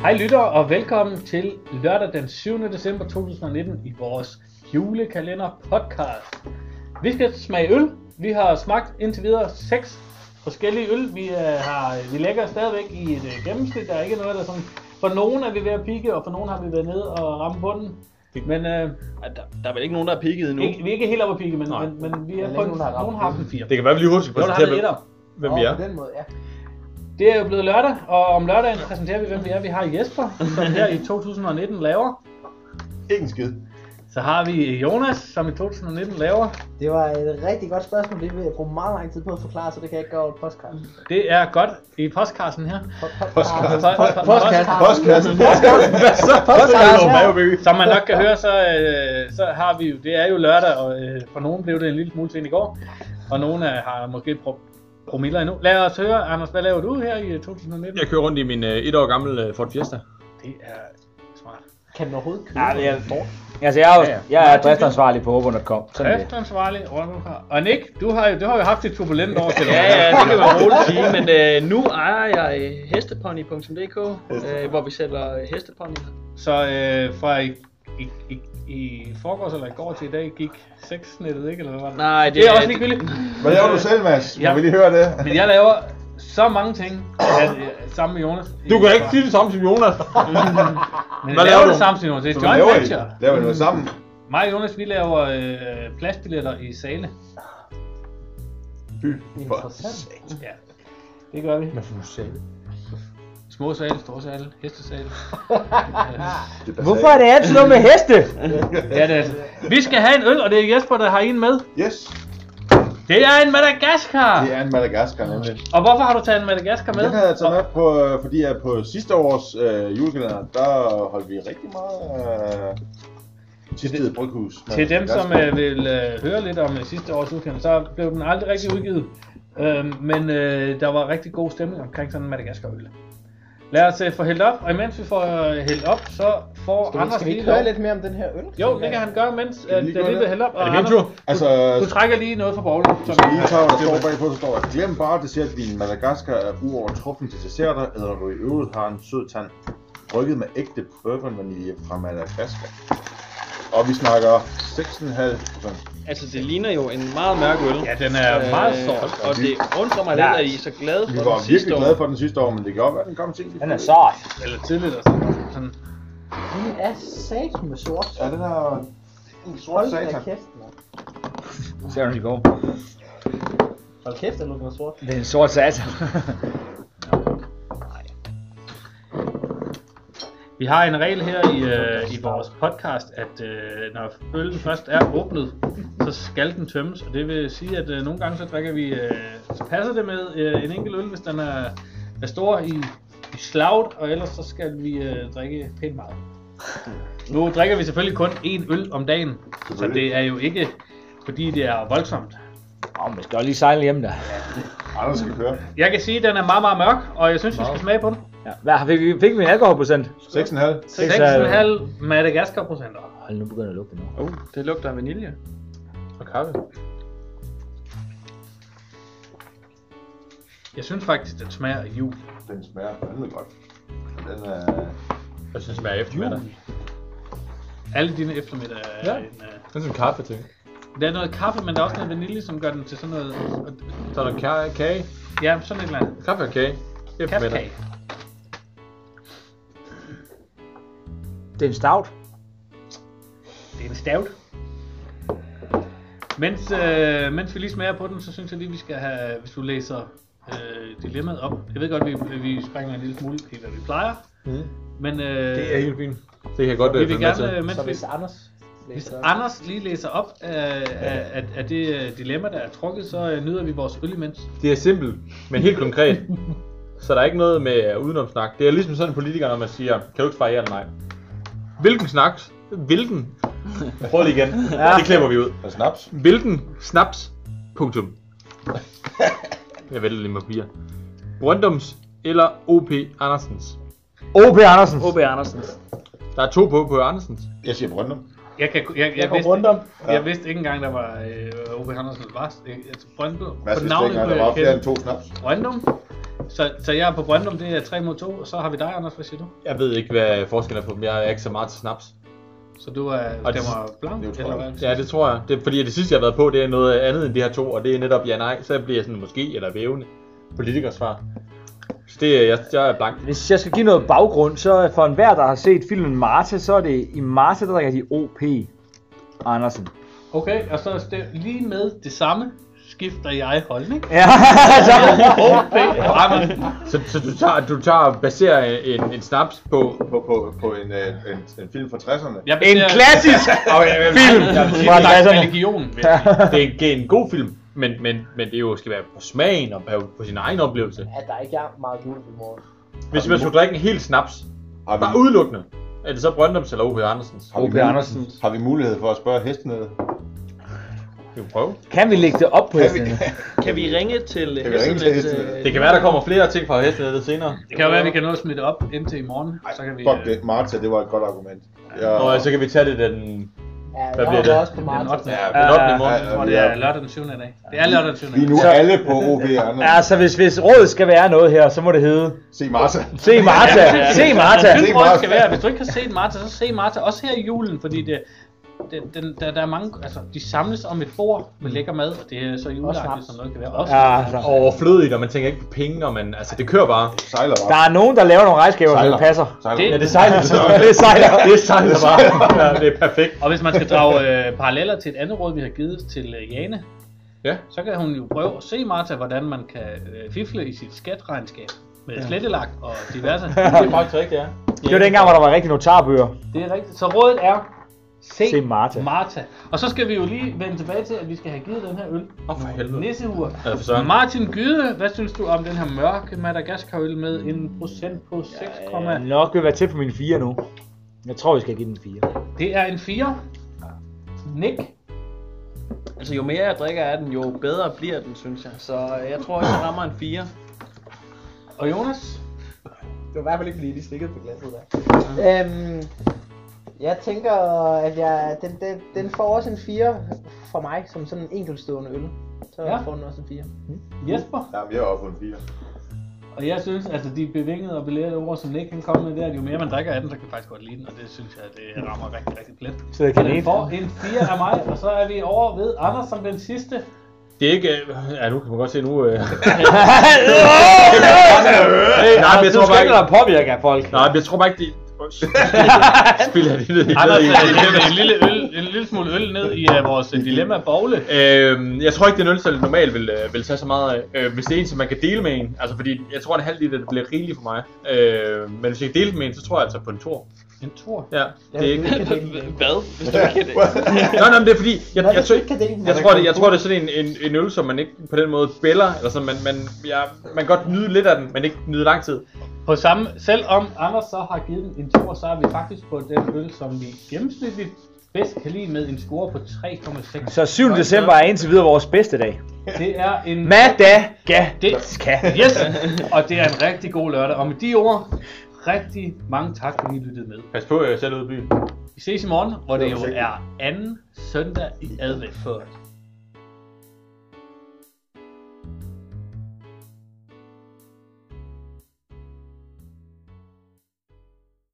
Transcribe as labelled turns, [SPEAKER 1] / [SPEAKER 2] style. [SPEAKER 1] Hej lyttere og velkommen til lørdag den 7. december 2019 i vores julekalender podcast. Vi skal smage øl. Vi har smagt indtil videre seks forskellige øl. Vi, øh, har, vi ligger stadigvæk i et øh, gennemsnit. Der er ikke noget, der sådan... For nogen er vi ved at pikke, og for nogen har vi været nede og ramme bunden. Men øh,
[SPEAKER 2] Ej, Der, der er vel ikke nogen, der er pigget endnu?
[SPEAKER 1] ikke, vi er ikke helt oppe at pikke, men,
[SPEAKER 2] Nej.
[SPEAKER 1] men, men, vi
[SPEAKER 3] Der er
[SPEAKER 1] er
[SPEAKER 3] ikke
[SPEAKER 1] på en,
[SPEAKER 3] nogen, der har ramt
[SPEAKER 1] nogen har haft
[SPEAKER 3] bunden.
[SPEAKER 1] en fire.
[SPEAKER 4] Det kan være, vi lige hurtigt
[SPEAKER 1] Jo, der har
[SPEAKER 4] præsenterer,
[SPEAKER 1] vi
[SPEAKER 4] hvem,
[SPEAKER 1] etter.
[SPEAKER 4] hvem vi er.
[SPEAKER 3] Åh, på den måde, ja.
[SPEAKER 1] Det er jo blevet lørdag, og om lørdagen præsenterer vi, hvem vi er. Vi har Jesper, som her i 2019 laver.
[SPEAKER 4] Ikke en skid.
[SPEAKER 1] Så har vi Jonas, som i 2019 laver.
[SPEAKER 3] Det var et rigtig godt spørgsmål, det vil jeg bruge meget lang tid på at forklare, så det kan jeg ikke gøre over et podcast.
[SPEAKER 1] Det er godt i postkassen her.
[SPEAKER 3] Po-
[SPEAKER 4] Podcast.
[SPEAKER 3] po- po-
[SPEAKER 1] Podcast.
[SPEAKER 4] Postkassen. Postkassen. Hvad så? Postkassen.
[SPEAKER 3] Postkassen.
[SPEAKER 4] Postkassen.
[SPEAKER 1] Som man nok kan høre, så, øh, så har vi jo, det er jo lørdag, og øh, for nogen blev det en lille smule sent i går, og nogen øh, har måske pro- promiller endnu. Lad os høre, Anders, hvad laver du her i øh, 2019?
[SPEAKER 4] Jeg kører rundt i min øh, et år gamle øh, Ford Fiesta.
[SPEAKER 1] Det er smart.
[SPEAKER 3] Kan den overhovedet købe?
[SPEAKER 5] Ja, det er... Altså, jeg er, jo,
[SPEAKER 4] Ja, ja.
[SPEAKER 5] jeg er driftsansvarlig på Håber.com. Sådan er det.
[SPEAKER 1] Driftsansvarlig, Ornukar. Og Nick, du har, jo, du har jo haft et turbulent år til
[SPEAKER 2] Ja, ja, det kan man roligt sige, men øh, nu ejer jeg øh, hestepony.dk, øh, hvor vi sælger øh, hestepony.
[SPEAKER 1] Så øh, fra i, i, i, i forgårs eller i går til i dag gik sexnettet, ikke? Eller hvad var det?
[SPEAKER 2] Nej,
[SPEAKER 1] det, det er også ligegyldigt.
[SPEAKER 6] Hvad laver du selv, Mads?
[SPEAKER 1] Ja.
[SPEAKER 6] Ja. Må vi lige høre det?
[SPEAKER 1] Men jeg laver så mange ting at, øh, sammen med Jonas.
[SPEAKER 4] Du kan ikke sige det samme som Jonas.
[SPEAKER 1] Men jeg
[SPEAKER 4] Hvad laver
[SPEAKER 1] laver det
[SPEAKER 4] du?
[SPEAKER 1] sammen med Jonas. Det er
[SPEAKER 6] Så
[SPEAKER 1] et joint
[SPEAKER 6] laver I-
[SPEAKER 1] venture.
[SPEAKER 6] Laver I noget sammen?
[SPEAKER 1] Mig og Jonas, vi laver øh, pladsbilletter i Sale.
[SPEAKER 6] Fy for
[SPEAKER 3] Interessant.
[SPEAKER 6] satan.
[SPEAKER 1] Ja, det gør vi.
[SPEAKER 4] Hvad for noget sagde
[SPEAKER 1] Små sale, store sale, hestesale.
[SPEAKER 6] Det basalt.
[SPEAKER 5] Hvorfor er det altid noget med heste?
[SPEAKER 1] ja, det er det. Vi skal have en øl, og det er Jesper, der har en med.
[SPEAKER 6] Yes,
[SPEAKER 1] Det er en Madagaskar!
[SPEAKER 6] det er en Madagaskar nemlig.
[SPEAKER 1] Og hvorfor har du taget en Madagaskar med?
[SPEAKER 6] Den havde jeg taget med, på, øh, fordi jeg på sidste års øh, julekalender, der holdt vi rigtig meget øh, Tistede Bryghus. med
[SPEAKER 1] Til dem, som
[SPEAKER 6] Madagaskar.
[SPEAKER 1] øh, vil øh, høre lidt om øh, sidste års udkendelse, så blev den aldrig rigtig udgivet. Øh, men øh, der var rigtig god stemning omkring sådan en Madagaskar-øl. Lad os øh, få hældt op, og imens vi får øh, hældt op, så får
[SPEAKER 3] Skal vi,
[SPEAKER 1] Anders
[SPEAKER 3] skal vi
[SPEAKER 1] lige
[SPEAKER 3] ikke høre
[SPEAKER 1] lov-
[SPEAKER 3] lidt mere om den her øl?
[SPEAKER 1] Jo, det kan han gøre, mens øh,
[SPEAKER 6] vi
[SPEAKER 1] at
[SPEAKER 6] lige
[SPEAKER 1] der
[SPEAKER 6] gøre
[SPEAKER 1] lige
[SPEAKER 6] det?
[SPEAKER 1] bliver hældt op.
[SPEAKER 4] Er det min tur?
[SPEAKER 6] Altså,
[SPEAKER 1] Du trækker lige noget fra bowlen.
[SPEAKER 6] så skal lige tage, hvad der står bagpå, så står der, glem bare dessertvinen Madagaskar er uovertruffen til desserter, eller når du i øvrigt har en sød tand, brygget med ægte bourbon vanilje fra Madagaskar. Og vi snakker 6,5 procent.
[SPEAKER 2] Altså, det ligner jo en meget mørk øl.
[SPEAKER 1] Ja, den er meget sort.
[SPEAKER 2] Øh, og det undrer mig lidt, at I er så glade
[SPEAKER 6] Vi
[SPEAKER 2] for
[SPEAKER 6] var
[SPEAKER 2] den sidste
[SPEAKER 6] virkelig
[SPEAKER 2] år.
[SPEAKER 6] glade for den sidste år, men det kan godt være, den kom sent.
[SPEAKER 5] Den er sart.
[SPEAKER 1] Eller tidligt og sådan. sådan.
[SPEAKER 3] Den er satan med sort.
[SPEAKER 6] Ja, den er en sort
[SPEAKER 3] Hold da
[SPEAKER 6] satan.
[SPEAKER 3] kæft, mand.
[SPEAKER 5] Ser du, de går?
[SPEAKER 3] Hold kæft, den lugter af sort.
[SPEAKER 5] Det er en sort sat.
[SPEAKER 1] Vi har en regel her i, øh, i vores podcast, at øh, når øllen først er åbnet, så skal den tømmes. Og det vil sige, at øh, nogle gange så drikker vi, øh, så passer det med øh, en enkelt øl, hvis den er, er stor i, i slaget, og ellers så skal vi øh, drikke pænt meget. Nu drikker vi selvfølgelig kun én øl om dagen, så det er jo ikke, fordi det er voldsomt.
[SPEAKER 5] Åh, man skal jo lige sejle hjem der.
[SPEAKER 6] Anders skal køre.
[SPEAKER 1] Jeg kan sige, at den er meget, meget mørk, og jeg synes, vi skal smage på den.
[SPEAKER 5] Ja. Hvad, fik, vi, fik vi en alkoholprocent?
[SPEAKER 6] 6,5.
[SPEAKER 1] 6,5 Madagaskar-procenter.
[SPEAKER 5] Hold nu begynder det at lugte nu.
[SPEAKER 2] Uh, det lugter af vanilje.
[SPEAKER 4] Og kaffe.
[SPEAKER 1] Jeg synes faktisk, den smager af jul.
[SPEAKER 6] Den smager fandme godt. Den er...
[SPEAKER 4] Jeg synes, den smager eftermiddag.
[SPEAKER 1] Alle dine eftermiddage er ja.
[SPEAKER 4] Ja.
[SPEAKER 1] en, uh...
[SPEAKER 4] Den er sådan en kaffe ting.
[SPEAKER 1] Der er noget kaffe, men der er også noget vanilje, som gør den til sådan noget...
[SPEAKER 4] Så er der ka- kage.
[SPEAKER 1] Ja, sådan et eller andet.
[SPEAKER 4] Kaffe og kage. Eftermiddag.
[SPEAKER 1] Kaffekage.
[SPEAKER 5] Det er en stout.
[SPEAKER 1] Det er en stavt. Mens, øh, mens vi lige smager på den, så synes jeg lige, vi skal have... Hvis du læser øh, dilemmaet op. Jeg ved godt, vi, vi springer en lille smule i, hvad vi plejer.
[SPEAKER 4] Mm.
[SPEAKER 1] Men øh,
[SPEAKER 4] Det er helt fint. Det kan jeg godt
[SPEAKER 1] vi
[SPEAKER 4] øh,
[SPEAKER 1] vil
[SPEAKER 4] følge med til.
[SPEAKER 1] gerne, øh, mens
[SPEAKER 3] Så
[SPEAKER 1] vi
[SPEAKER 3] hvis Anders...
[SPEAKER 1] Hvis
[SPEAKER 3] læser-
[SPEAKER 1] Anders lige læser op af, af, af, af det øh, dilemma, der er trukket, så øh, nyder vi vores øl imens.
[SPEAKER 4] Det er simpelt, men helt konkret. Så der er ikke noget med øh, udenomsnak. Det er ligesom sådan en politiker, når man siger, kan du ikke svare ja eller nej? Hvilken snak? Hvilken? Prøv lige igen. Ja. Det klipper vi ud.
[SPEAKER 6] Der er snaps.
[SPEAKER 4] Hvilken snaps? Punktum. Jeg vælger lige med papir. Brøndums eller OP Andersens?
[SPEAKER 5] O.P. Andersen.
[SPEAKER 2] O.B. Andersen.
[SPEAKER 4] Der er to på på Andersens.
[SPEAKER 6] Jeg siger Brøndum.
[SPEAKER 1] Jeg, kan, jeg, jeg,
[SPEAKER 3] Jeg
[SPEAKER 1] jeg,
[SPEAKER 3] går rundt
[SPEAKER 1] vidste,
[SPEAKER 3] om.
[SPEAKER 1] jeg vidste ikke engang, der var øh, O.P. Hansen var. Jeg- jeg- Brøndum.
[SPEAKER 6] Mads
[SPEAKER 1] på
[SPEAKER 6] vidste ikke,
[SPEAKER 1] navnet
[SPEAKER 6] engang,
[SPEAKER 1] kunne
[SPEAKER 6] der var
[SPEAKER 1] jeg
[SPEAKER 6] flere
[SPEAKER 1] kende
[SPEAKER 6] end to snaps.
[SPEAKER 1] Brøndum. Så, så jeg er på Brøndum, det er 3 mod 2, og så har vi dig, Anders, hvad siger du?
[SPEAKER 4] Jeg ved ikke, hvad forskellen er på dem. Jeg er ikke så meget til snaps.
[SPEAKER 1] Så du er,
[SPEAKER 4] Og det-
[SPEAKER 1] stemmer blank,
[SPEAKER 6] det er jo
[SPEAKER 1] eller
[SPEAKER 6] tror jeg.
[SPEAKER 1] hvad?
[SPEAKER 4] Ja, det tror jeg. Det er, fordi det sidste, jeg har været på, det er noget andet end de her to, og det er netop ja-nej. Så bliver jeg sådan måske eller vævende politikersvar. Så det er, jeg, jeg er blank.
[SPEAKER 5] Hvis jeg skal give noget baggrund, så for enhver, der har set filmen Marta, så er det i Marta, der drikker de OP Andersen.
[SPEAKER 1] Okay, og så er det- lige med det samme skifter jeg holdning.
[SPEAKER 5] Ja, så,
[SPEAKER 4] Så, så du, tager, du tager, baserer en, en snaps på...
[SPEAKER 6] På, på, på en, øh, en, en film fra 60'erne.
[SPEAKER 1] Jeg
[SPEAKER 5] en
[SPEAKER 1] baserer-
[SPEAKER 5] klassisk film fra
[SPEAKER 1] Jeg er
[SPEAKER 5] 60'erne.
[SPEAKER 1] religion, vil jeg sige.
[SPEAKER 4] Det er, det er en god film, men, men, men det jo skal være på smagen og på, på sin egen oplevelse.
[SPEAKER 3] Ja, der er ikke jeg meget guld i morgen.
[SPEAKER 4] Hvis man skulle drikke en hel snaps,
[SPEAKER 6] Har vi,
[SPEAKER 4] bare udelukkende, er det så Brøndums eller O.P. Andersens?
[SPEAKER 6] har vi,
[SPEAKER 5] O.P.
[SPEAKER 6] mul-
[SPEAKER 5] Andersen.
[SPEAKER 6] Har vi mulighed for at spørge hestene?
[SPEAKER 4] Vi kan prøve.
[SPEAKER 5] Kan vi lægge det op på
[SPEAKER 6] vi-
[SPEAKER 5] hestene?
[SPEAKER 2] Kan vi ringe til
[SPEAKER 6] Kan vi ringe til
[SPEAKER 2] Hesselnets,
[SPEAKER 6] Hesselnæs?
[SPEAKER 2] øh,
[SPEAKER 4] Det kan være, der kommer flere ting fra hestenet senere.
[SPEAKER 1] Det kan jo være, at vi kan nå at smide det op indtil i morgen. Så kan vi,
[SPEAKER 6] Fuck
[SPEAKER 1] øh,
[SPEAKER 6] det, Marta, det var et godt argument. Ja,
[SPEAKER 4] Og så kan vi tage det den
[SPEAKER 3] Ja,
[SPEAKER 4] Hvad
[SPEAKER 3] jeg
[SPEAKER 4] bliver
[SPEAKER 3] hopper
[SPEAKER 4] altså, det?
[SPEAKER 3] også på
[SPEAKER 1] bliver den
[SPEAKER 3] Martin.
[SPEAKER 1] ottende.
[SPEAKER 6] ja,
[SPEAKER 4] den ottende
[SPEAKER 6] ja,
[SPEAKER 4] morgen.
[SPEAKER 1] Jeg tror,
[SPEAKER 6] vi
[SPEAKER 1] det
[SPEAKER 6] er,
[SPEAKER 1] er lørdag den 7. i dag. Det er lørdag den 7. i
[SPEAKER 6] vi er nu
[SPEAKER 1] dag.
[SPEAKER 6] alle på OB Andersen.
[SPEAKER 5] Altså, hvis, hvis rådet skal være noget her, så må det hedde
[SPEAKER 6] Se Marta.
[SPEAKER 5] Se Marta! Se Marta!
[SPEAKER 1] Jeg synes,
[SPEAKER 6] Se
[SPEAKER 1] hvor det
[SPEAKER 6] Martha.
[SPEAKER 1] skal være. Hvis du ikke har set Marta, så se Marta også her i julen, fordi det, det, den, der, der er mange, altså, de samles om et bord med lækker mad, og det er så juleagtigt,
[SPEAKER 3] snaps.
[SPEAKER 1] som noget kan være. Også.
[SPEAKER 5] Mm. Ja, altså.
[SPEAKER 4] overflødigt, og man tænker ikke på penge, når man... Altså, det kører bare.
[SPEAKER 6] Sejler bare.
[SPEAKER 5] Der er nogen, der laver nogle regnskaber, så det passer.
[SPEAKER 6] Sejler.
[SPEAKER 1] Det-
[SPEAKER 4] Ja, det sejler.
[SPEAKER 5] Det er sejler.
[SPEAKER 4] det sejler bare. Ja, det er perfekt.
[SPEAKER 1] Og hvis man skal drage øh, paralleller til et andet råd, vi har givet til øh, Jane,
[SPEAKER 4] Ja.
[SPEAKER 1] så kan hun jo prøve at se Marta, hvordan man kan øh, fifle i sit skatregnskab med ja. slettelak og diverse.
[SPEAKER 4] Det er faktisk rigtigt, ja.
[SPEAKER 5] Det var dengang, hvor der var rigtig notarbøger.
[SPEAKER 1] det er rigtigt. Så rådet er, se,
[SPEAKER 5] Se Martha.
[SPEAKER 1] Marta. Og så skal vi jo lige vende tilbage til, at vi skal have givet den her øl.
[SPEAKER 4] Åh, for helvede.
[SPEAKER 1] Nisseur.
[SPEAKER 4] Ja, for søren.
[SPEAKER 1] Martin Gyde, hvad synes du om den her mørke Madagaskar-øl med en procent på 6,
[SPEAKER 5] Jeg er nok vil være tæt på min 4 nu. Jeg tror, vi skal give den 4.
[SPEAKER 1] det er en 4. Nick,
[SPEAKER 2] Altså jo mere jeg drikker af den, jo bedre bliver den, synes jeg. Så øh, jeg tror også, jeg rammer en 4.
[SPEAKER 1] og Jonas.
[SPEAKER 3] Det var i hvert fald ikke, fordi jeg lige slikkede på glasset der. Øhm, jeg tænker, at jeg, den, den, den får også en 4 fra mig, som sådan en enkeltstående øl. Så
[SPEAKER 1] Ja.
[SPEAKER 3] ja. får den også en 4.
[SPEAKER 1] Jesper.
[SPEAKER 6] Jamen, jeg er oppe på en fire.
[SPEAKER 1] Og jeg synes, altså de bevingede og belærede ord, som Nick han kom med der, jo mere man drikker af den, så kan jeg faktisk godt lide den, og det synes jeg, det rammer rigtig, rigtig plet.
[SPEAKER 5] Så jeg
[SPEAKER 1] Så
[SPEAKER 5] kan
[SPEAKER 1] den
[SPEAKER 5] ikke.
[SPEAKER 1] får en 4 af mig, og så er vi over ved Anders som den sidste.
[SPEAKER 4] Det er ikke... øh, Ja, nu kan man godt se nu... Øh. nej, men jeg tror bare ikke...
[SPEAKER 5] dig påvirke af folk.
[SPEAKER 4] Nej, men jeg tror bare ikke, det... Spiller det ned i
[SPEAKER 1] Anders øh,
[SPEAKER 4] bladet
[SPEAKER 1] hælder en lille, øl, en lille smule øl ned i uh, vores øh, dilemma bogle.
[SPEAKER 4] Øhm, jeg tror ikke, det er en øl, som normalt vil, øh, vil tage så meget af. Øh, hvis det er en, som man kan dele med en. Altså, fordi jeg tror, en halv liter det bliver rigeligt for mig. Øh, men hvis jeg kan dele den med en, så tror jeg altså på en tor.
[SPEAKER 1] En tor.
[SPEAKER 4] Ja, det er ikke...
[SPEAKER 2] Hvad? Hvis du ikke kan det.
[SPEAKER 4] Nå, nej, men det er fordi, jeg, jeg, jeg,
[SPEAKER 3] hvis du
[SPEAKER 4] jeg,
[SPEAKER 3] ikke kan dele den, er
[SPEAKER 4] jeg, tror,
[SPEAKER 3] der
[SPEAKER 4] det, jeg
[SPEAKER 3] kun
[SPEAKER 4] tror, det er sådan en, en, en øl, som man ikke på den måde spiller, eller sådan, man, man, ja, man kan godt nyde lidt af den, men ikke nyde lang tid.
[SPEAKER 1] På samme, selvom Anders så har givet den en tor, så er vi faktisk på den øl, som vi gennemsnitligt bedst kan lide med en score på 3,6.
[SPEAKER 5] Så 7. december er indtil videre vores bedste dag.
[SPEAKER 1] Det er en...
[SPEAKER 5] Madagaskar.
[SPEAKER 1] Det Yes! Og det er en rigtig god lørdag. Og med de ord, rigtig mange tak, fordi I lyttede med.
[SPEAKER 4] Pas på, jeg er selv ude i byen.
[SPEAKER 1] Vi ses i morgen, hvor det
[SPEAKER 6] Det
[SPEAKER 1] jo
[SPEAKER 6] var
[SPEAKER 1] er anden søndag i advent.